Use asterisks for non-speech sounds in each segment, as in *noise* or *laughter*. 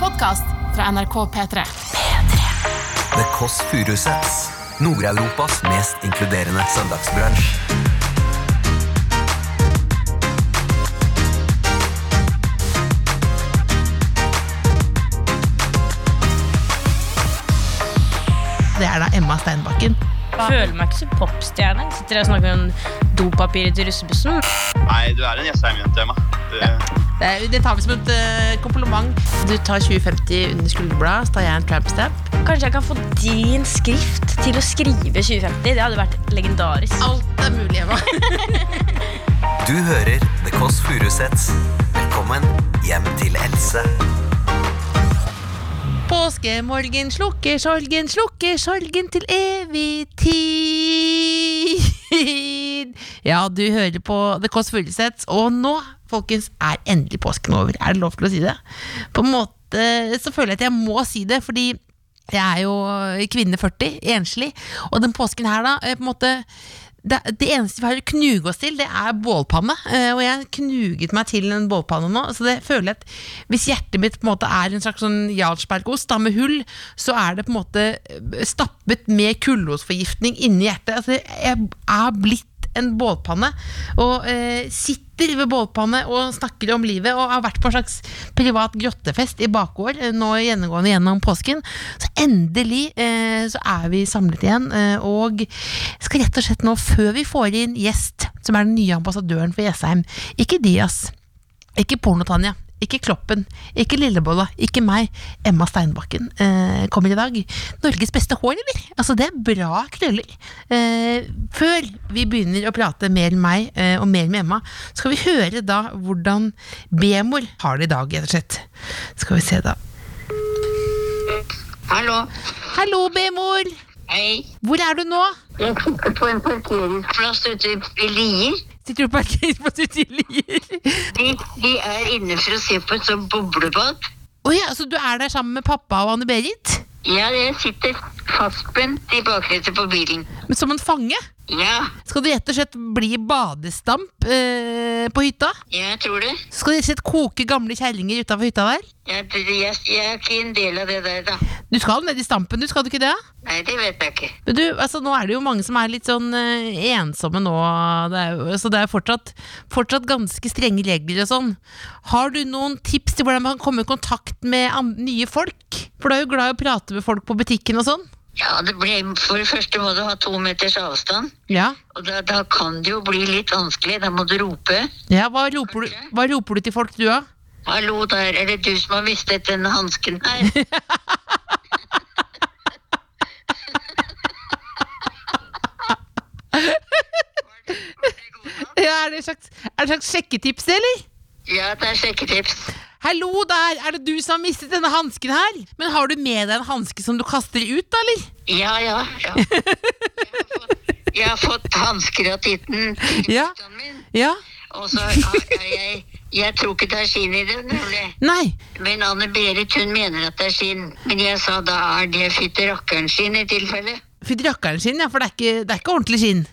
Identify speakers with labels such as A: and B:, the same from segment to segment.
A: podkast fra NRK P3.
B: The Kåss Furuseths. Nord-Europas mest inkluderende søndagsbransj.
C: Det er da Emma Steinbakken.
D: føler meg ikke så popstjerne. Jeg Sitter og snakker om dopapirer til russebussen.
E: Nei, du er en Jessheim-jente, Emma. Det,
C: Det, er- det tar vi som et eh, kompliment. Du tar 2050 under skulderbladet, så tar jeg en trampstamp.
D: Kanskje jeg kan få din skrift til å skrive 2050? Det hadde vært legendarisk.
C: Alt er mulig, Emma.
B: Du hører The Kåss Furuseths. Velkommen hjem til Else.
C: *laughs* Påskemorgen slukker sorgen, slukker sorgen til evig tid. Ja, du hører på The Kåss Furuseth, og nå, folkens, er endelig påsken over. Er det lov til å si det? På en måte så føler jeg at jeg må si det, fordi jeg er jo eh, kvinne 40, enslig, og den påsken her, da, eh, på en måte det, det eneste vi har å knuge oss til, det er bålpanne. Eh, og jeg knuget meg til en bålpanne nå, så det føler jeg at hvis hjertet mitt på en måte er en slags sånn jarlsbergost da, med hull, så er det på en måte eh, stappet med kullosforgiftning inni hjertet. Altså, jeg er blitt en bålpanne, og eh, sitter ved bålpanne og snakker om livet, og har vært på en slags privat grottefest i bakgård eh, nå gjennomgående gjennom påsken. Så endelig eh, så er vi samlet igjen, eh, og skal rett og slett nå, før vi får inn gjest, som er den nye ambassadøren for Jessheim, ikke Dias, ikke Porno-Tanja, ikke Kloppen, ikke Lillebolla, ikke meg, Emma Steinbakken eh, kommer i dag. Norges beste hår, eller? Altså, det er bra krøller. Eh, før vi begynner å prate mer med meg eh, og mer med Emma, skal vi høre da hvordan B-mor har det i dag, rett og slett. Skal vi se, da.
F: Hallo.
C: Hallo, B-mor!
F: Hei.
C: Hvor er du nå?
F: Jeg sitter på en parkeringsplass ute i Lier.
C: Sitter du på parkeringsplass ute i Lier?
F: De, de er inne for å se på sånn et sånt boblebad.
C: Å ja, så du er der sammen med pappa og Anne-Berit?
F: Ja, jeg sitter fastspent i bakretet på bilen.
C: Men Som en fange?
F: Ja,
C: Skal det rett og slett bli badestamp eh, på hytta?
F: jeg tror det.
C: Skal de rett og slett koke gamle kjerringer utafor hytta der?
F: Jeg, jeg, jeg er ikke en del av det der, da.
C: Du skal ned i stampen, du, skal du ikke det?
F: Nei, det vet jeg ikke.
C: Men du, altså, nå er det jo mange som er litt sånn eh, ensomme nå, det er jo, så det er fortsatt, fortsatt ganske strenge regler og sånn. Har du noen tips til hvordan man kan komme i kontakt med an- nye folk? For du er jo glad i å prate med folk på butikken og sånn.
F: Ja, det ble, For det første må du ha to meters avstand.
C: Ja.
F: Og da, da kan det jo bli litt vanskelig. Da må du rope.
C: ja hva, roper du, hva roper du til folk, du, da?
F: Hallo der, er det du som har mistet denne hansken her? *laughs*
C: Ja, er det et slags, er det et slags sjekketips, det, eller?
F: Ja, det er sjekketips.
C: Hallo der, er det du som har mistet denne hansken her? Men har du med deg en hanske som du kaster ut, da, eller?
F: Ja, ja, ja. Jeg har fått, jeg har fått hansker av titten til
C: Ja.
F: gutten min.
C: Ja.
F: Og så har jeg, jeg Jeg tror ikke det er skinn i det, nemlig.
C: Nei.
F: Men Anne-Berit hun mener at det er skinn. Men jeg sa da er det fytti rakkeren skinn i tilfelle.
C: Fytti rakkeren skinn, ja, for det er ikke, det er ikke ordentlig skinn.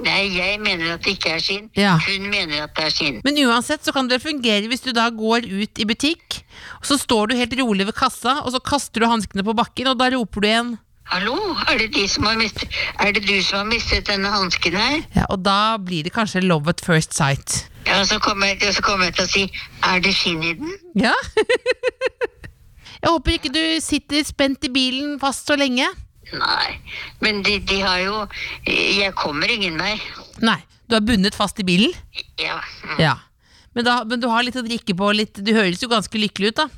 F: Nei, jeg mener at det ikke er skinn.
C: Ja.
F: Hun mener at det er skinn.
C: Men uansett så kan det fungere hvis du da går ut i butikk, og så står du helt rolig ved kassa, og så kaster du hanskene på bakken, og da roper du igjen.
F: Hallo, er det, de som har mistet, er det du som har mistet denne hansken her?
C: Ja, og da blir det kanskje love at first sight.
F: Ja, så kommer jeg, så kommer jeg til å si er det skinn i den?
C: Ja. *laughs* Jeg håper ikke du sitter spent i bilen fast så lenge.
F: Nei. Men de, de har jo Jeg kommer ingen vei.
C: Nei, du er bundet fast i bilen.
F: Ja. mm.
C: Ja. Men, da, men du har litt å drikke på, og litt, du høres jo ganske lykkelig ut, da.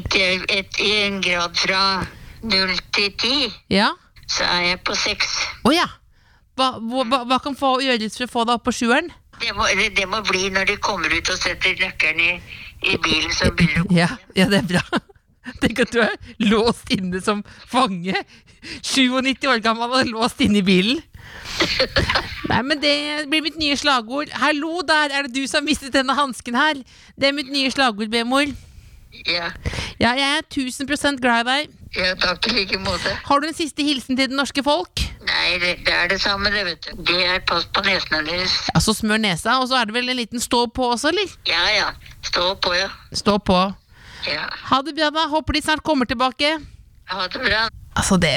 F: Ikke et, I en grad fra null til ti,
C: Ja.
F: så er jeg på seks.
C: Å ja. Hva, hva, hva- hva kan få, gjøres for å få deg opp på sjueren?
F: Det må, det, det må bli når de kommer ut og setter nøkkelen i, i bilen, så begynner det å gå.
C: Ja, ja, det er bra. *laughs* Tenk at du er låst inne som fange. 97 år gammel og låst inne i *laughs* bilen. Nei, men det blir mitt nye slagord. Hallo der, er det du som har mistet denne hansken her? Det er mitt nye slagord, bemor.
F: Ja.
C: Ja, jeg er 1000 glad i deg.
F: ja, takk i like måte.
C: Har du en siste hilsen til det norske folk?
F: Nei, det, det er det samme, det, vet du. Det er pass på nesene deres.
C: Ja, så smør nesa, og så er det vel en liten stå på også, eller?
F: Ja ja. Stå på, ja.
C: Stå på.
F: Ja.
C: Ha det, Bjørna. Håper de snart kommer tilbake.
F: Ha det bra.
C: Altså, det,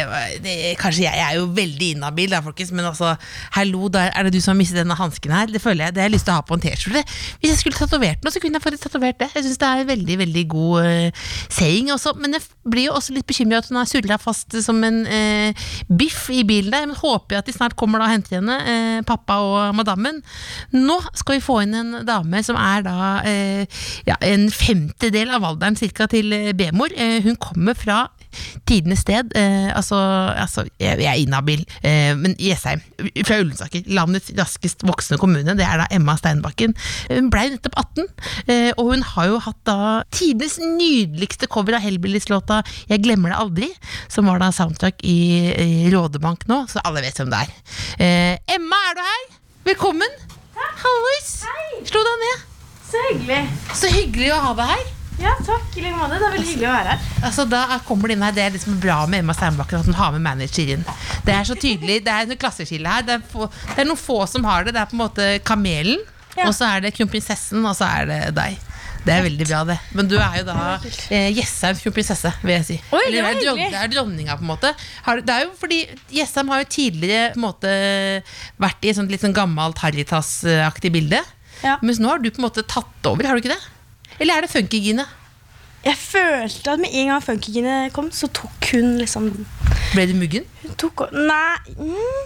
C: det, kanskje jeg, jeg er jo veldig inhabil, da, folkens, men altså, hallo, da er det du som har mistet denne hansken her? Det føler jeg, det har jeg lyst til å ha på en T-skjorte. Hvis jeg skulle tatovert noe, så kunne jeg faktisk tatovert det. Jeg synes det er en veldig, veldig god eh, saying også, men jeg f- blir jo også litt bekymret at hun har surla fast som en eh, biff i bilen der, men håper jeg at de snart kommer da og henter henne, eh, pappa og madammen. Nå skal vi få inn en dame som er da eh, ja, en femtedel av alderen cirka til eh, B-mor. Eh, hun kommer fra tidenes sted. Eh, altså, altså, jeg, jeg er inhabil, eh, men Jessheim, fra Ullensaker, landets raskest voksende kommune, det er da Emma Steinbakken. Hun ble jo nettopp 18, eh, og hun har jo hatt da tidenes nydeligste cover av Hellbillies-låta 'Jeg glemmer det aldri', som var da soundtrack i, i Rådebank nå, så alle vet hvem det er. Eh, Emma, er du her? Velkommen! Hallois! Slo deg ned.
G: Så hyggelig.
C: Så hyggelig å ha deg her.
G: Ja, takk i like måte. Det er veldig hyggelig å være her.
C: Altså, da er- kommer det inn her, Det er liksom bra med Emma Steinbakken at hun har med manager inn. Det er så tydelig, det er noe klasseskille her. Det er, få, det er noen få som har det. Det er på en måte Kamelen,
G: Ja.
C: og så er det kronprinsessen, og så er det deg. Det er veldig bra, det. Men du er jo da eh, Jessheim kronprinsesse, vil jeg si.
G: Oi, det
C: Eller
G: var
C: er dron-
G: hyggelig.
C: er dronninga, på en måte. Har, det er jo fordi Jessheim har jo tidligere på en måte vært i et sånt litt sånn gammelt Haritas-aktig bilde.
G: Ja.
C: Mens nå har du på en måte tatt over, har du ikke det? Eller er det funkygine?
G: Jeg følte at med en gang funkygene kom, så tok hun liksom Hun
C: Ble du muggen?
G: tok og- Nei. Mm.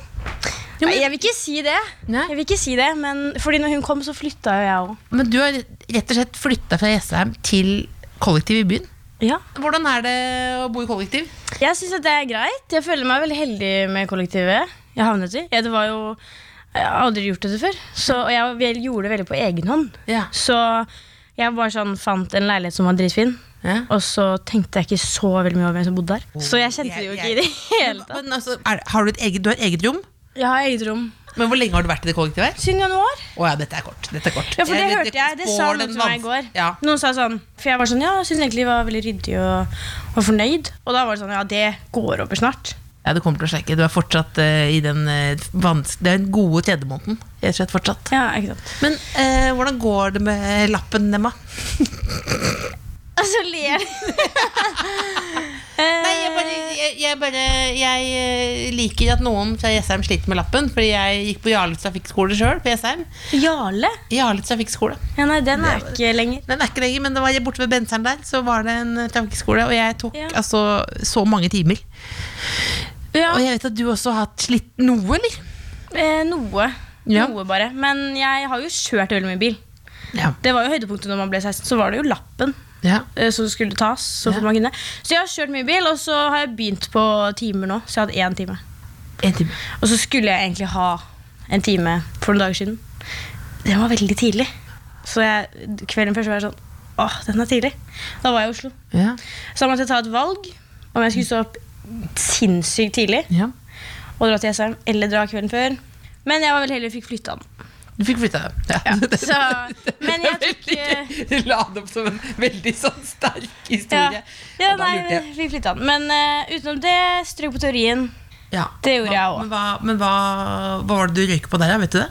C: Jo, men-
G: Nei, Jeg vil ikke si det.
C: Nei.
G: Jeg vil ikke si det, men fordi når hun kom, så flytta jo jeg òg.
C: Men du har rett og slett flytta fra Jessheim til kollektiv i byen.
G: Ja.
C: Hvordan er det å bo i kollektiv?
G: Jeg syns at det er greit. Jeg føler meg veldig heldig med kollektivet jeg havnet i. Jeg, det var jo, jeg har aldri gjort dette før, så, og jeg vel- gjorde det veldig på egen hånd.
C: Ja.
G: Så jeg bare sånn fant en leilighet som var dritfin.
C: Ja.
G: Og så tenkte jeg ikke så veldig mye over hvem som bodde der. Så Oh, jeg kjente det jo ikke i det *laughs* hele tatt.
C: Men altså, er, har du, et eget, du har et eget rom,
G: Jeg har eget rom.
C: men hvor lenge har du vært i det kollektivet her?
G: Siden januar?
C: Å ja, dette er kort. Dette er kort.
G: Ja, for det
C: Eh,
G: hørte jeg. Det sa
C: spår
G: noen
C: den
G: til meg i
C: vans-
G: går.
C: Ja.
G: Noen sa sånn, For jeg var sånn, ja, jeg syns egentlig de var veldig ryddig og, og fornøyd. Og da var det sånn, ja, det går over snart.
C: ja, du kommer til å sjekke. Du er fortsatt eh, i den, eh, vans- den gode tredjemåneden. Rett og slett fortsatt.
G: Ja, ikke sant.
C: Men eh, hvordan går det med lappen, Emma?
G: Og så ler
C: Nei, jeg bare,
G: Eh.
C: jeg, jeg bare Jeg eh, liker at noen fra Jessheim sliter med lappen, fordi jeg gikk på Jarle trafikkskole sjøl på Jessheim.
G: Jarle?
C: Jarle trafikkskole.
G: Ja, nei, den er ikke lenger.
C: Den er ikke lenger, men det var borte ved Benseren der, så var det en eh, trafikkskole, og jeg tok
G: Ja.
C: altså så mange timer.
G: Ja,
C: Og jeg vet at du også har hatt slitt noe, eller?
G: eh, noe.
C: Ja.
G: Noe bare. Men jeg har jo kjørt veldig mye bil.
C: Ja.
G: Det var jo høydepunktet når man ble 16. Så var det jo lappen.
C: ja.
G: eh, som skulle tas. Så, fort
C: Ja.
G: man kunne. så jeg har kjørt mye bil, og så har jeg begynt på timer nå. Så jeg hadde én time.
C: En time.
G: Og så skulle jeg egentlig ha en time for noen dager siden. Den var veldig tidlig. Så jeg, kvelden før så var jeg sånn Åh, den er tidlig. Da var jeg i Oslo.
C: Ja.
G: Så da måtte jeg ta et valg om jeg skulle stå opp sinnssykt tidlig
C: ja.
G: og dra til Jessheim eller dra kvelden før. Men jeg var veldig heldig og fikk flytta den.
C: Du fikk flytta deg. Ja. *laughs*
G: Så, men jeg tok eh,
C: Du la det opp som en veldig sånn sterk
G: ja,
C: historie.
G: ja,
C: Og da
G: nei,
C: lurte
G: jeg
C: jeg.
G: fikk flytta den. Men eh, utenom det, strøk på teorien.
C: Ja.
G: Det gjorde
C: Hva-
G: jeg også.
C: Men, hva, men hva, hva var det du røyka på der, da? Vet du det?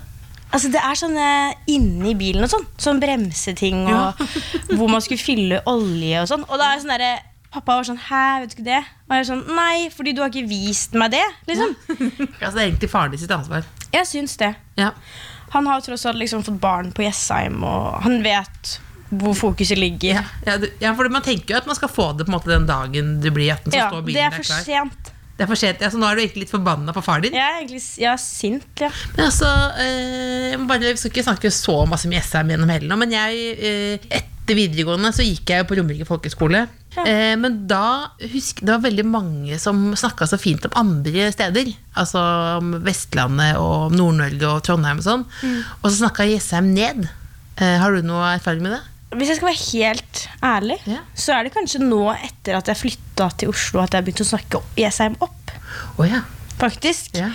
G: Altså Det er sånne inni bilen og sånn. Sånn bremseting og *laughs* hvor man skulle fylle olje og sånn. Og da er jeg sånn derre Pappa var sånn Hæ, vet du ikke det? Og jeg er sånn Nei, fordi du har ikke vist meg det.
C: *laughs*
G: Liksom.
C: Altså, det er egentlig faren din sitt ansvar.
G: Jeg syns det.
C: Ja. *laughs*
G: Han har jo tross alt liksom fått barn på Jessheim, og han vet hvor fokuset ligger.
C: Ja, ja, du, ja, for man tenker jo at man skal få det på en måte den dagen du blir 18. Så
G: Ja,
C: står
G: det
C: bilen
G: er
C: der
G: for
C: klar.
G: sent.
C: Det er for sent. Ja, så nå er du egentlig litt forbanna på far din.
G: Jeg er egentlig s- jeg er sint, ja.
C: Men altså, eh, jeg må bare, vi skal ikke snakke så masse om Jessheim gjennom hele nå, men jeg, eh, etter videregående så gikk jeg jo på Romerike folkehøgskole. Eh, men da husk, det var veldig mange som snakka så fint om andre steder. Altså om Vestlandet og om Nord-Norge og Trondheim og sånn.
G: Mm.
C: Og så snakka Jessheim ned. Eh, har du noe erfaring med det?
G: Hvis jeg skal være helt ærlig,
C: Ja.
G: så er det kanskje nå etter at jeg flytta til Oslo, at jeg har begynt å snakke Jessheim opp.
C: Å ja.
G: faktisk.
C: Ja.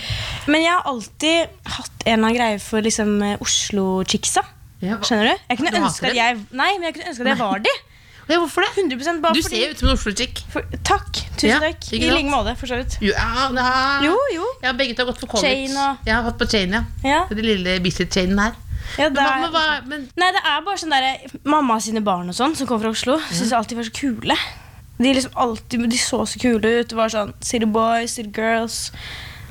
G: Men jeg har alltid hatt en eller annen greie for liksom, eh, Oslo-chicksa.
C: Ja, hva-
G: Skjønner du? Jeg kunne
C: Du hater
G: ønske
C: dem?
G: at jeg, nei, men jeg kunne ønske at jeg var de.
C: Å ja. Hvorfor det?
G: 100% bare
C: Du
G: fordi,
C: ser jo ut som en Oslo-chick.
G: for, Takk. Tusen
C: Ja,
G: takk.
C: ikke
G: I
C: sant?
G: like måte, for så vidt.
C: Ja, da-
G: Jo, jo.
C: Ja, begge to har gått på college.
G: Chain og-
C: Jeg har gått på chain, ja.
G: Ja.
C: Den lille Bislett-chainen her.
G: Ja, det
C: Hva- men
G: er,
C: hva- men-
G: nei, det er bare sånn derre Mamma sine barn og sånn som kommer fra Oslo, syns jeg alltid var så kule. De liksom alltid, de så så kule ut. Det var sånn City Boys, City Girls.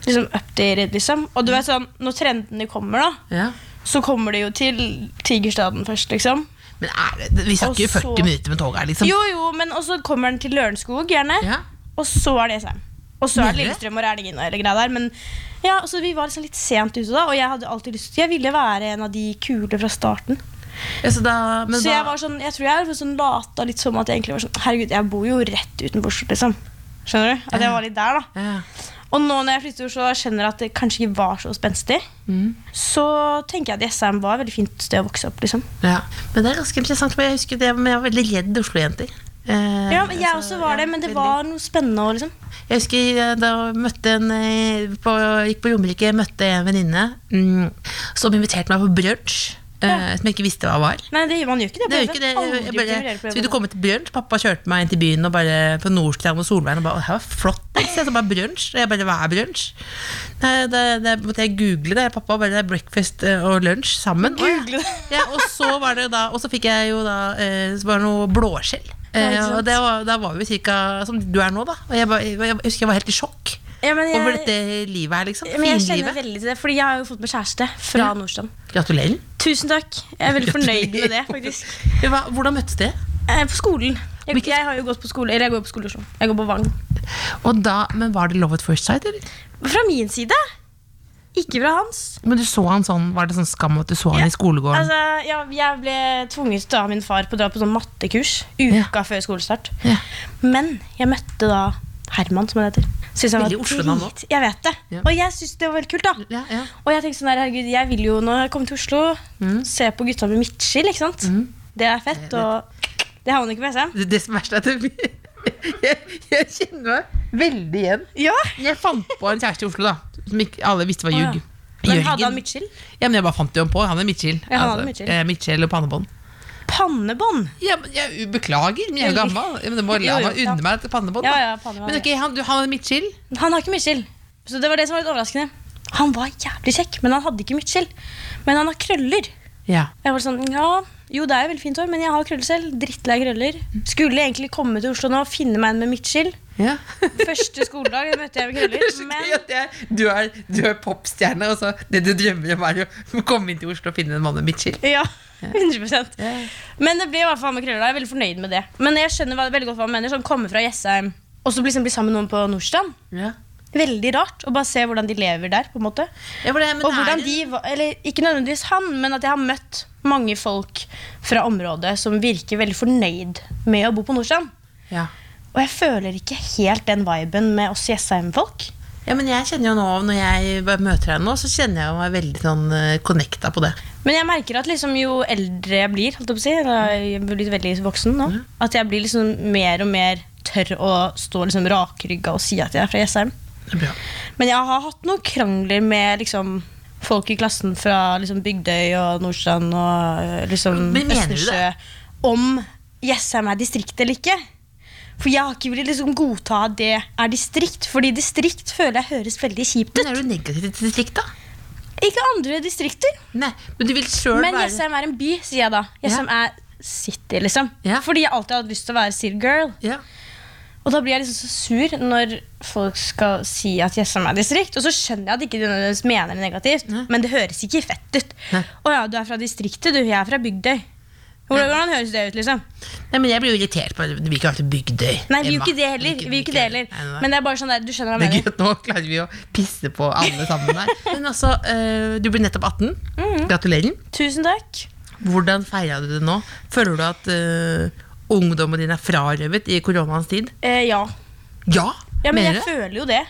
G: Liksom updated, liksom. Og du vet sånn, når trendene kommer, da,
C: Ja.
G: så kommer de jo til Tigerstaden først, liksom.
C: Men er det, vi snakker jo
G: Og så-
C: 40 minutter med toget her, liksom.
G: Jo, jo, men og så kommer den til Lørenskog, gjerne.
C: Ja.
G: Og så er det SM. Og så er
C: Mener du?
G: det Lillestrøm og Rælingen og hele greia der. Men ja, så vi var liksom litt sent ute da, og jeg hadde alltid lyst Jeg ville være en av de kule fra starten.
C: Ja, så da, men
G: så
C: hva-
G: jeg var sånn, jeg tror jeg var sånn lata litt som at jeg egentlig var sånn Herregud, jeg bor jo rett utenfor Oslo, liksom. Skjønner du? At jeg var litt der, da.
C: ja.
G: Og nå når jeg flytter til Oslo og skjønner at det kanskje ikke var så spenstig,
C: Mm.
G: så tenker jeg at SM var et veldig fint sted å vokse opp, liksom.
C: Ja. Men det er ganske interessant, for jeg husker det, men jeg var veldig redd Oslo-jenter. Eh,
G: Ja, men jeg
C: så-
G: også var
C: ja,
G: det, men det
C: veldig.
G: var noe spennende òg, liksom.
C: Jeg husker eh, da jeg møtte en eh, på, Gikk på Romerike, møtte en venninne mm, som inviterte meg på brunsj. eh, Som jeg ikke visste hva var.
G: Nei, det, man gjør ikke det.
C: Det er jo
G: på
C: ikke
G: jobben.
C: det.
G: Aldri
C: Jeg bare,
G: gjør på
C: skulle du
G: jobben.
C: komme til brunsj? Pappa kjørte meg inn til byen og bare på Nordstrand og Solveien. Og bare, «Å, det her var flott. ikke sant?» Så bare brunsj. Og jeg bare, hva er brunsj? Nei, Det, det måtte jeg google det. Pappa bare, det er breakfast eh, og lunsj sammen.
G: Google
C: og,
G: det.
C: ja, og så var det da, og så fikk jeg jo da eh, så var det noe blåskjell. Eh,
G: Ja, ikke sant.
C: og det var, da var vi cirka som du er nå, da. Og jeg, bare, jeg husker jeg var helt i sjokk
G: Ja, men jeg-
C: over dette livet her, liksom.
G: Men jeg kjenner
C: Finlivet.
G: veldig til det, fordi jeg har jo fått meg kjæreste fra
C: Ja.
G: Nordstrand.
C: Gratulerer.
G: Tusen takk. Jeg er
C: *laughs*
G: veldig fornøyd med det, faktisk.
C: Hva, hvordan møttes dere?
G: Eh, På skolen. Jeg,
C: Hvilken-
G: jeg har jo gått på skole, eller jeg går på skole i Oslo. Jeg går på Vang.
C: Og da, men var det love at first sight, eller?
G: Fra min side. Ikke fra hans.
C: Men du så han sånn, var det sånn skam at du så han i skolegården?
G: Altså, ja, jeg ble tvunget av min far på å dra på sånn mattekurs uka før skolestart.
C: Ja.
G: Men jeg møtte da Herman, som han heter. Synes han var
C: Veldig Oslo-navn også.
G: drit- Jeg vet det.
C: Ja.
G: Og jeg syns det var veldig kult, da.
C: Ja, ja.
G: Og jeg tenkte sånn der, herregud, jeg vil jo når jeg kommer til Oslo,
C: Mm.
G: se på gutta med midtskill, ikke sant. Det er fett, og det havner ikke på SM.
C: Det, det som er verst er at det blir *laughs* jeg, jeg kjenner meg veldig igjen.
G: Ja.
C: Jeg fant på en kjæreste i Oslo, da. Som ikke alle visste var
G: ja.
C: ljug.
G: Men
C: Jørgen.
G: hadde han midtskill?
C: Ja, men jeg bare fant det jo på. Han er midtskill.
G: Ja, han er midtskill.
C: eh, midtskill og pannebånd.
G: Pannebånd.
C: Ja, men jeg beklager, men jeg er jo
G: Veldig.
C: gammel. Ja, Men det må
G: Jo,
C: la
G: jo,
C: meg
G: ja.
C: unne meg et pannebånd.
G: Ja,
C: da.
G: ja, pannebånd,
C: men ok, han, du, han er midtskill.
G: Han har ikke midtskill. Så det var det som var litt overraskende. Han var jævlig kjekk, men han hadde ikke midtskill. Men han har krøller.
C: Ja.
G: Jeg var sånn, ja, jo det er jo veldig fint hår, men jeg har krøller selv. Drittlei krøller. Skulle egentlig komme til Oslo nå og finne meg en med midtskill.
C: ja.
G: Første skoledag møtte jeg
C: *laughs*
G: med
C: Det er så gøy
G: krøller. Men
C: at jeg, du, er, du er popstjerne, og så det du drømmer om, er jo å *laughs* komme inn til Oslo og finne en mann med midtskill.
G: ja, 100 Men det ble i hvert fall med krøller. da. Jeg er veldig fornøyd med det. Men jeg skjønner hva, veldig godt hva han mener. Sånn komme fra Jessheim og så liksom bli sammen med noen på Nordstrand.
C: Ja.
G: Veldig rart. Og bare se hvordan de lever der. på en måte
C: Ja, for det, men det
G: Og
C: er
G: hvordan
C: en-
G: de var, eller ikke nødvendigvis han, men at jeg har møtt mange folk fra området som virker veldig fornøyd med å bo på Nordstrand.
C: ja.
G: Og jeg føler ikke helt den viben med oss Jessheim-folk.
C: Ja, men jeg kjenner jo nå, Når jeg bare møter deg nå, så kjenner jeg meg veldig sånn eh, connecta på det.
G: Men jeg merker at liksom jo eldre jeg blir, holdt jeg på å si, da er jeg blitt veldig voksen nå, at jeg blir liksom mer og mer tør å stå liksom rakrygga og si at jeg er fra Jessheim.
C: Det er bra.
G: Men jeg har hatt noen krangler med liksom folk i klassen fra liksom Bygdøy og Nordstrand og øh, liksom
C: Men mener du det?
G: Østersjø om Jessheim er distrikt eller ikke. For jeg har ikke villet liksom godta at det er distrikt, fordi distrikt føler jeg høres veldig kjipt
C: Men
G: ut.
C: er du negativ til distrikt, da?
G: Ikke andre distrikter,
C: Nei, men du vil sjøl
G: men
C: være
G: Jessheim er en by, sier jeg da. Jessheim er city, liksom.
C: Ja.
G: Fordi jeg alltid har hatt lyst til å være city girl.
C: ja.
G: Og da blir jeg liksom så sur når folk skal si at Jessheim er distrikt. Og så skjønner jeg at ikke de nødvendigvis mener det negativt, men det høres ikke fett ut.
C: Nei.
G: Å ja, du er fra distriktet, du. Jeg er fra Bygdøy. Hvordan, hvordan høres det ut, liksom?
C: Nei, men jeg blir jo irritert på det. Vi vil ikke være til Bygdøy.
G: Nei, vi gjør
C: Emma.
G: ikke det heller. Vi gjør ikke det heller.
C: Nei, nei, nei.
G: Men det er bare sånn der, du skjønner hva
C: det
G: jeg
C: er gøy
G: mener.
C: at nå klarer vi å pisse på alle sammen
G: *laughs*
C: her. Men altså, eh, du blir nettopp 18.
G: Mm.
C: Gratulerer.
G: Tusen takk.
C: Hvordan feira du det nå? Føler du at eh, ungdommen din er frarøvet i koronaens tid?
G: Eh, ja.
C: Ja,
G: ja, men jeg
C: du?
G: føler jo det.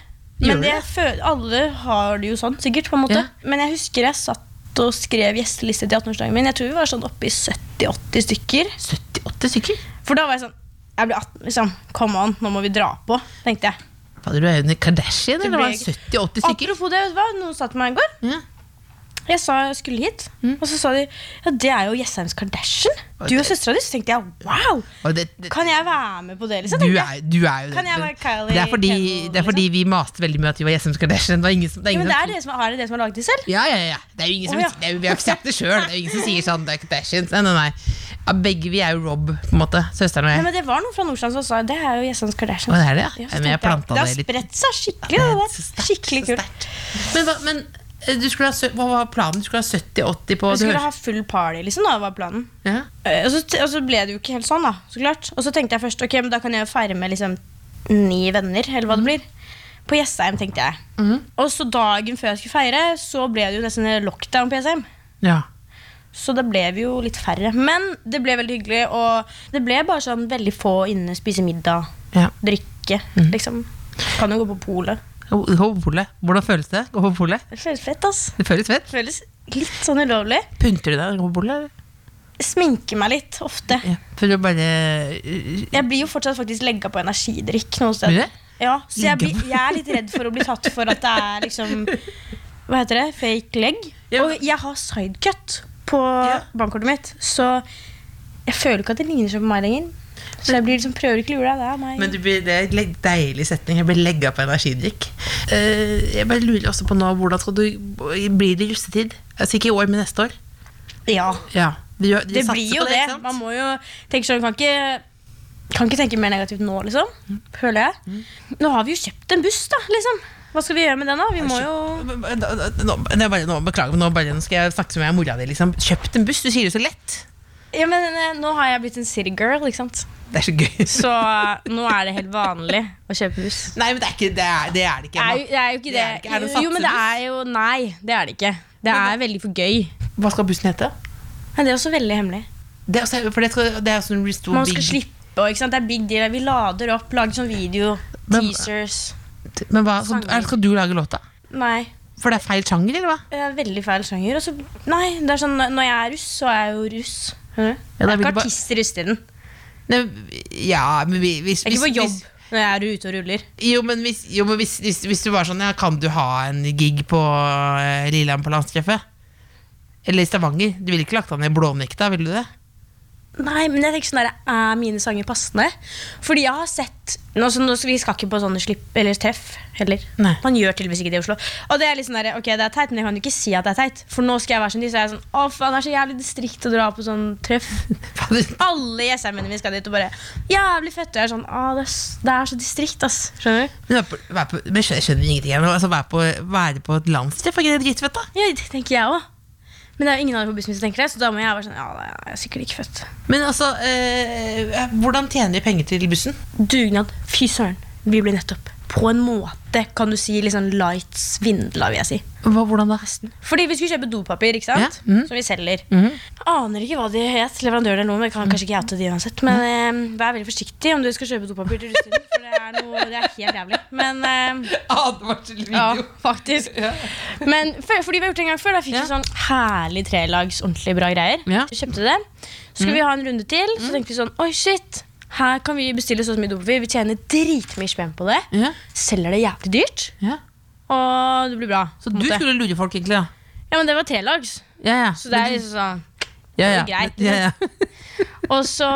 C: Gjør
G: Men
C: du
G: det
C: det?
G: føler, alle har det jo sånn, sikkert. på en måte
C: Ja.
G: Men jeg husker jeg satt og skrev gjesteliste til 18-årsdagen min. Jeg tror vi var sånn oppe i 70-80 stykker.
C: 78 stykker?
G: For da var jeg sånn Jeg blir 18, liksom. Come on, nå må vi dra på, tenkte jeg.
C: Fader, du er jo en Kardashian, eller
G: ble
C: var
G: jeg
C: det
G: ikke.
C: 70-80 stykker?
G: Apropos det, vet du hva? Noen sa til meg i går
C: Ja. Mm.
G: Jeg sa jeg skulle hit, og så sa de ja, det er jo Jesseheims Kardashian. Du og søstera di. Så tenkte jeg wow,
C: Og det, det,
G: kan jeg være med på det? liksom?
C: du,
G: tenkte jeg.
C: er, du er jo
G: Kan jeg være Kylie
C: Det er fordi,
G: Kendall,
C: det er fordi vi maste veldig mye at vi var Jessheim Kardashian. Det var ingen som, det er ingen
G: liksom? Ja, men
C: som-
G: det er dere som, er det dere som har laget de selv?
C: Ja, ja, ja. Det er jo ingen som,
G: Å, ja.
C: det er jo, vi har ikke sagt det sjøl. Det er jo ingen som sier sånn det er Kardashians. Nei, nei, nei. Ja, begge vi er jo Rob, på en måte. Søsteren og
G: Nei,
C: jeg.
G: men Det var noen fra Nordstrand som sa det er jo Jesseheims Kardashian.
C: Å, det er det, ja?
G: Ja, så
C: Men jeg
G: tenkte
C: planta
G: det har
C: det litt.
G: spredt seg skikkelig.
C: Ja, det er
G: det der.
C: så sterkt,
G: skikkelig
C: så
G: kult.
C: Men, hva, men eh, du skulle ha, sø- hva var planen? Du skulle ha 70-80 på du
G: Vi skulle
C: hører-
G: ha full party, liksom. da, var planen.
C: ja.
G: Eh, Og så, t- og så ble det jo ikke helt sånn, da. Så klart. Og så tenkte jeg først ok, men da kan jeg jo feire med liksom ni venner, eller hva det blir. På Jessheim, tenkte jeg. Og så dagen før jeg skulle feire, så ble det jo nesten lockdown på Jessheim.
C: ja.
G: Så da ble vi jo litt færre. Men det ble veldig hyggelig, og det ble bare sånn veldig få inne, spise middag,
C: Ja.
G: drikke, liksom. Kan jo gå på polet.
C: Gå på polet. Hvordan føles det? Gå på polet?
G: Det føles fett, ass.
C: Det føles fett.
G: Det føles litt sånn ulovlig.
C: Pynter du deg? Gå på polet? eller?
G: Sminke meg litt, ofte.
C: Ja. For å bare eh,
G: Jeg blir jo fortsatt faktisk legga på energidrikk noen
C: Blir
G: steder.
C: det?
G: Ja, så jeg,
C: Legget
G: blir, jeg er litt redd for å bli tatt for at det er liksom Hva heter det? Fake leg.
C: Ja.
G: Og jeg har sidecut på bankkortet mitt, så jeg føler ikke at det ligner så på meg lenger. Så jeg blir liksom, prøver ikke å lure deg. Det er meg.
C: Men du blir, det er en leg- deilig setning. Jeg blir legga på energidrikk. Eh, jeg bare lurer også på nå, hvordan skal du Blir det russetid? Altså ikke i år, men neste år?
G: ja,
C: Ja. Vi gjør- vi
G: det
C: satser
G: blir
C: på
G: jo det.
C: ikke sant?
G: Man må jo tenke sånn, kan ikke, kan ikke tenke mer negativt nå, liksom.
C: Mm.
G: Føler jeg. Nå har vi jo kjøpt en buss, da. liksom. Hva skal vi gjøre med den, da? Vi må jo
C: Men, da- da- Nå, det er bare, nå, beklager, men nå, bare, nå skal jeg snakke som om jeg er mora di. Liksom. Kjøpt en buss, du sier det så lett.
G: Ja, men eh, nå har jeg blitt en city girl, ikke sant.
C: Det er så gøy.
G: Så eh, nå er det helt vanlig å kjøpe
C: *laughs*
G: buss.
C: Nei, men det er, ikke, det er, det er det
G: Det
C: ikke.
G: er,
C: Emma.
G: jo, det er jo ikke
C: Det
G: det.
C: er det ikke. Er det
G: jo, men det
C: satsebuss?
G: er jo Nei, det er det ikke. Det er veldig for gøy.
C: Hva skal bussen hete?
G: Men det er også veldig hemmelig.
C: Det er, også- for det skal, det er sånn restore
G: Man
C: big-
G: skal slippe, og ikke sant? det er big deal. Vi lader opp, lager sånn video,
C: Men-
G: teasers.
C: Men hva, så, er, skal du lage låta?
G: Nei,
C: For det er feil sjanger, eller hva?
G: det er veldig feil sjanger. Og så, nei, det er sånn, når jeg er russ, så er jeg jo russ. Skjønner du?
C: Ja, da
G: jeg er
C: vil
G: ikke
C: du bare-
G: artist i russetiden.
C: Nei, ja, men vi, hvis,
G: Jeg er ikke på
C: hvis-
G: jobb
C: hvis-
G: når jeg er ute og ruller.
C: Jo, men, hvis, jo, men hvis, hvis, hvis du var sånn ja, Kan du ha en gig på eh, Lillehammer på landstreffet? Eller i Stavanger? Du ville ikke lagt han i blånekta, ville du det?
G: Nei, men jeg tenker sånn der, er mine sanger passende? Fordi jeg har sett nå, så, nå, skal- Vi skal ikke på sånne slipp eller treff heller.
C: Nei.
G: Man gjør tydeligvis ikke det i Oslo. Og det er litt sånn der, ok, det er teit, men jeg kan jo ikke si at det er teit. For nå skal jeg være som de, så er jeg sånn Å, faen, det er så jævlig distrikt å dra på sånn *laughs* treff.
C: Fader.
G: Alle jessheimene mine skal dit og bare Jævlig fett. Og jeg er sånn Å, det er, s- det er så distrikt, ass. Skjønner du?
C: Men, vær på, vær på, men skjønner, skjønner ingenting her nå. Altså, vær, på, være på et landstreff er ikke det dritfett, da?
G: Ja, det tenker jeg òg. Men det er jo ingen andre på bussen min som tenker det, så da må jeg være sånn Ja, da er jeg sikkert ikke født.
C: Men altså, eh, hvordan tjener de penger til bussen?
G: Dugnad. Fy søren. Vi ble nettopp på en måte kan du si litt sånn light svindla, vil jeg si.
C: Hva, hvordan da? *laughs*
G: Fordi vi skulle kjøpe dopapir, ikke sant?
C: Ja, mhm. Mhm.
G: som vi selger. Aner ikke hva de het, leverandøren eller noe. Men jeg kan kanskje ikke oute de uansett. Men eh, vær veldig forsiktig om du skal kjøpe dopapir til russetiden. For det er, noe, det er helt jævlig. Men eh, ja,
C: Advarselvideo.
G: *laughs* faktisk. Men for, fordi vi har gjort det en gang før, da fikk
C: Ja.
G: vi sånn herlig trelags, ordentlig bra greier.
C: Ja. Mm.
G: Vi kjøpte det. Så skulle vi ha en runde til, så tenkte vi sånn Oi, shit. Her kan vi bestille sånn så mye dopapir. Vi tjener dritmye spenn på det.
C: Ja.
G: Selger det jævlig dyrt.
C: Ja.
G: Og det blir bra.
C: Så
G: på en
C: du
G: måte.
C: skulle lure folk, egentlig? da?
G: Ja, men det var trelags.
C: Ja, ja.
G: Så det er liksom sånn
C: ja, ja.
G: det er greit. liksom.
C: Ja, ja.
G: Og så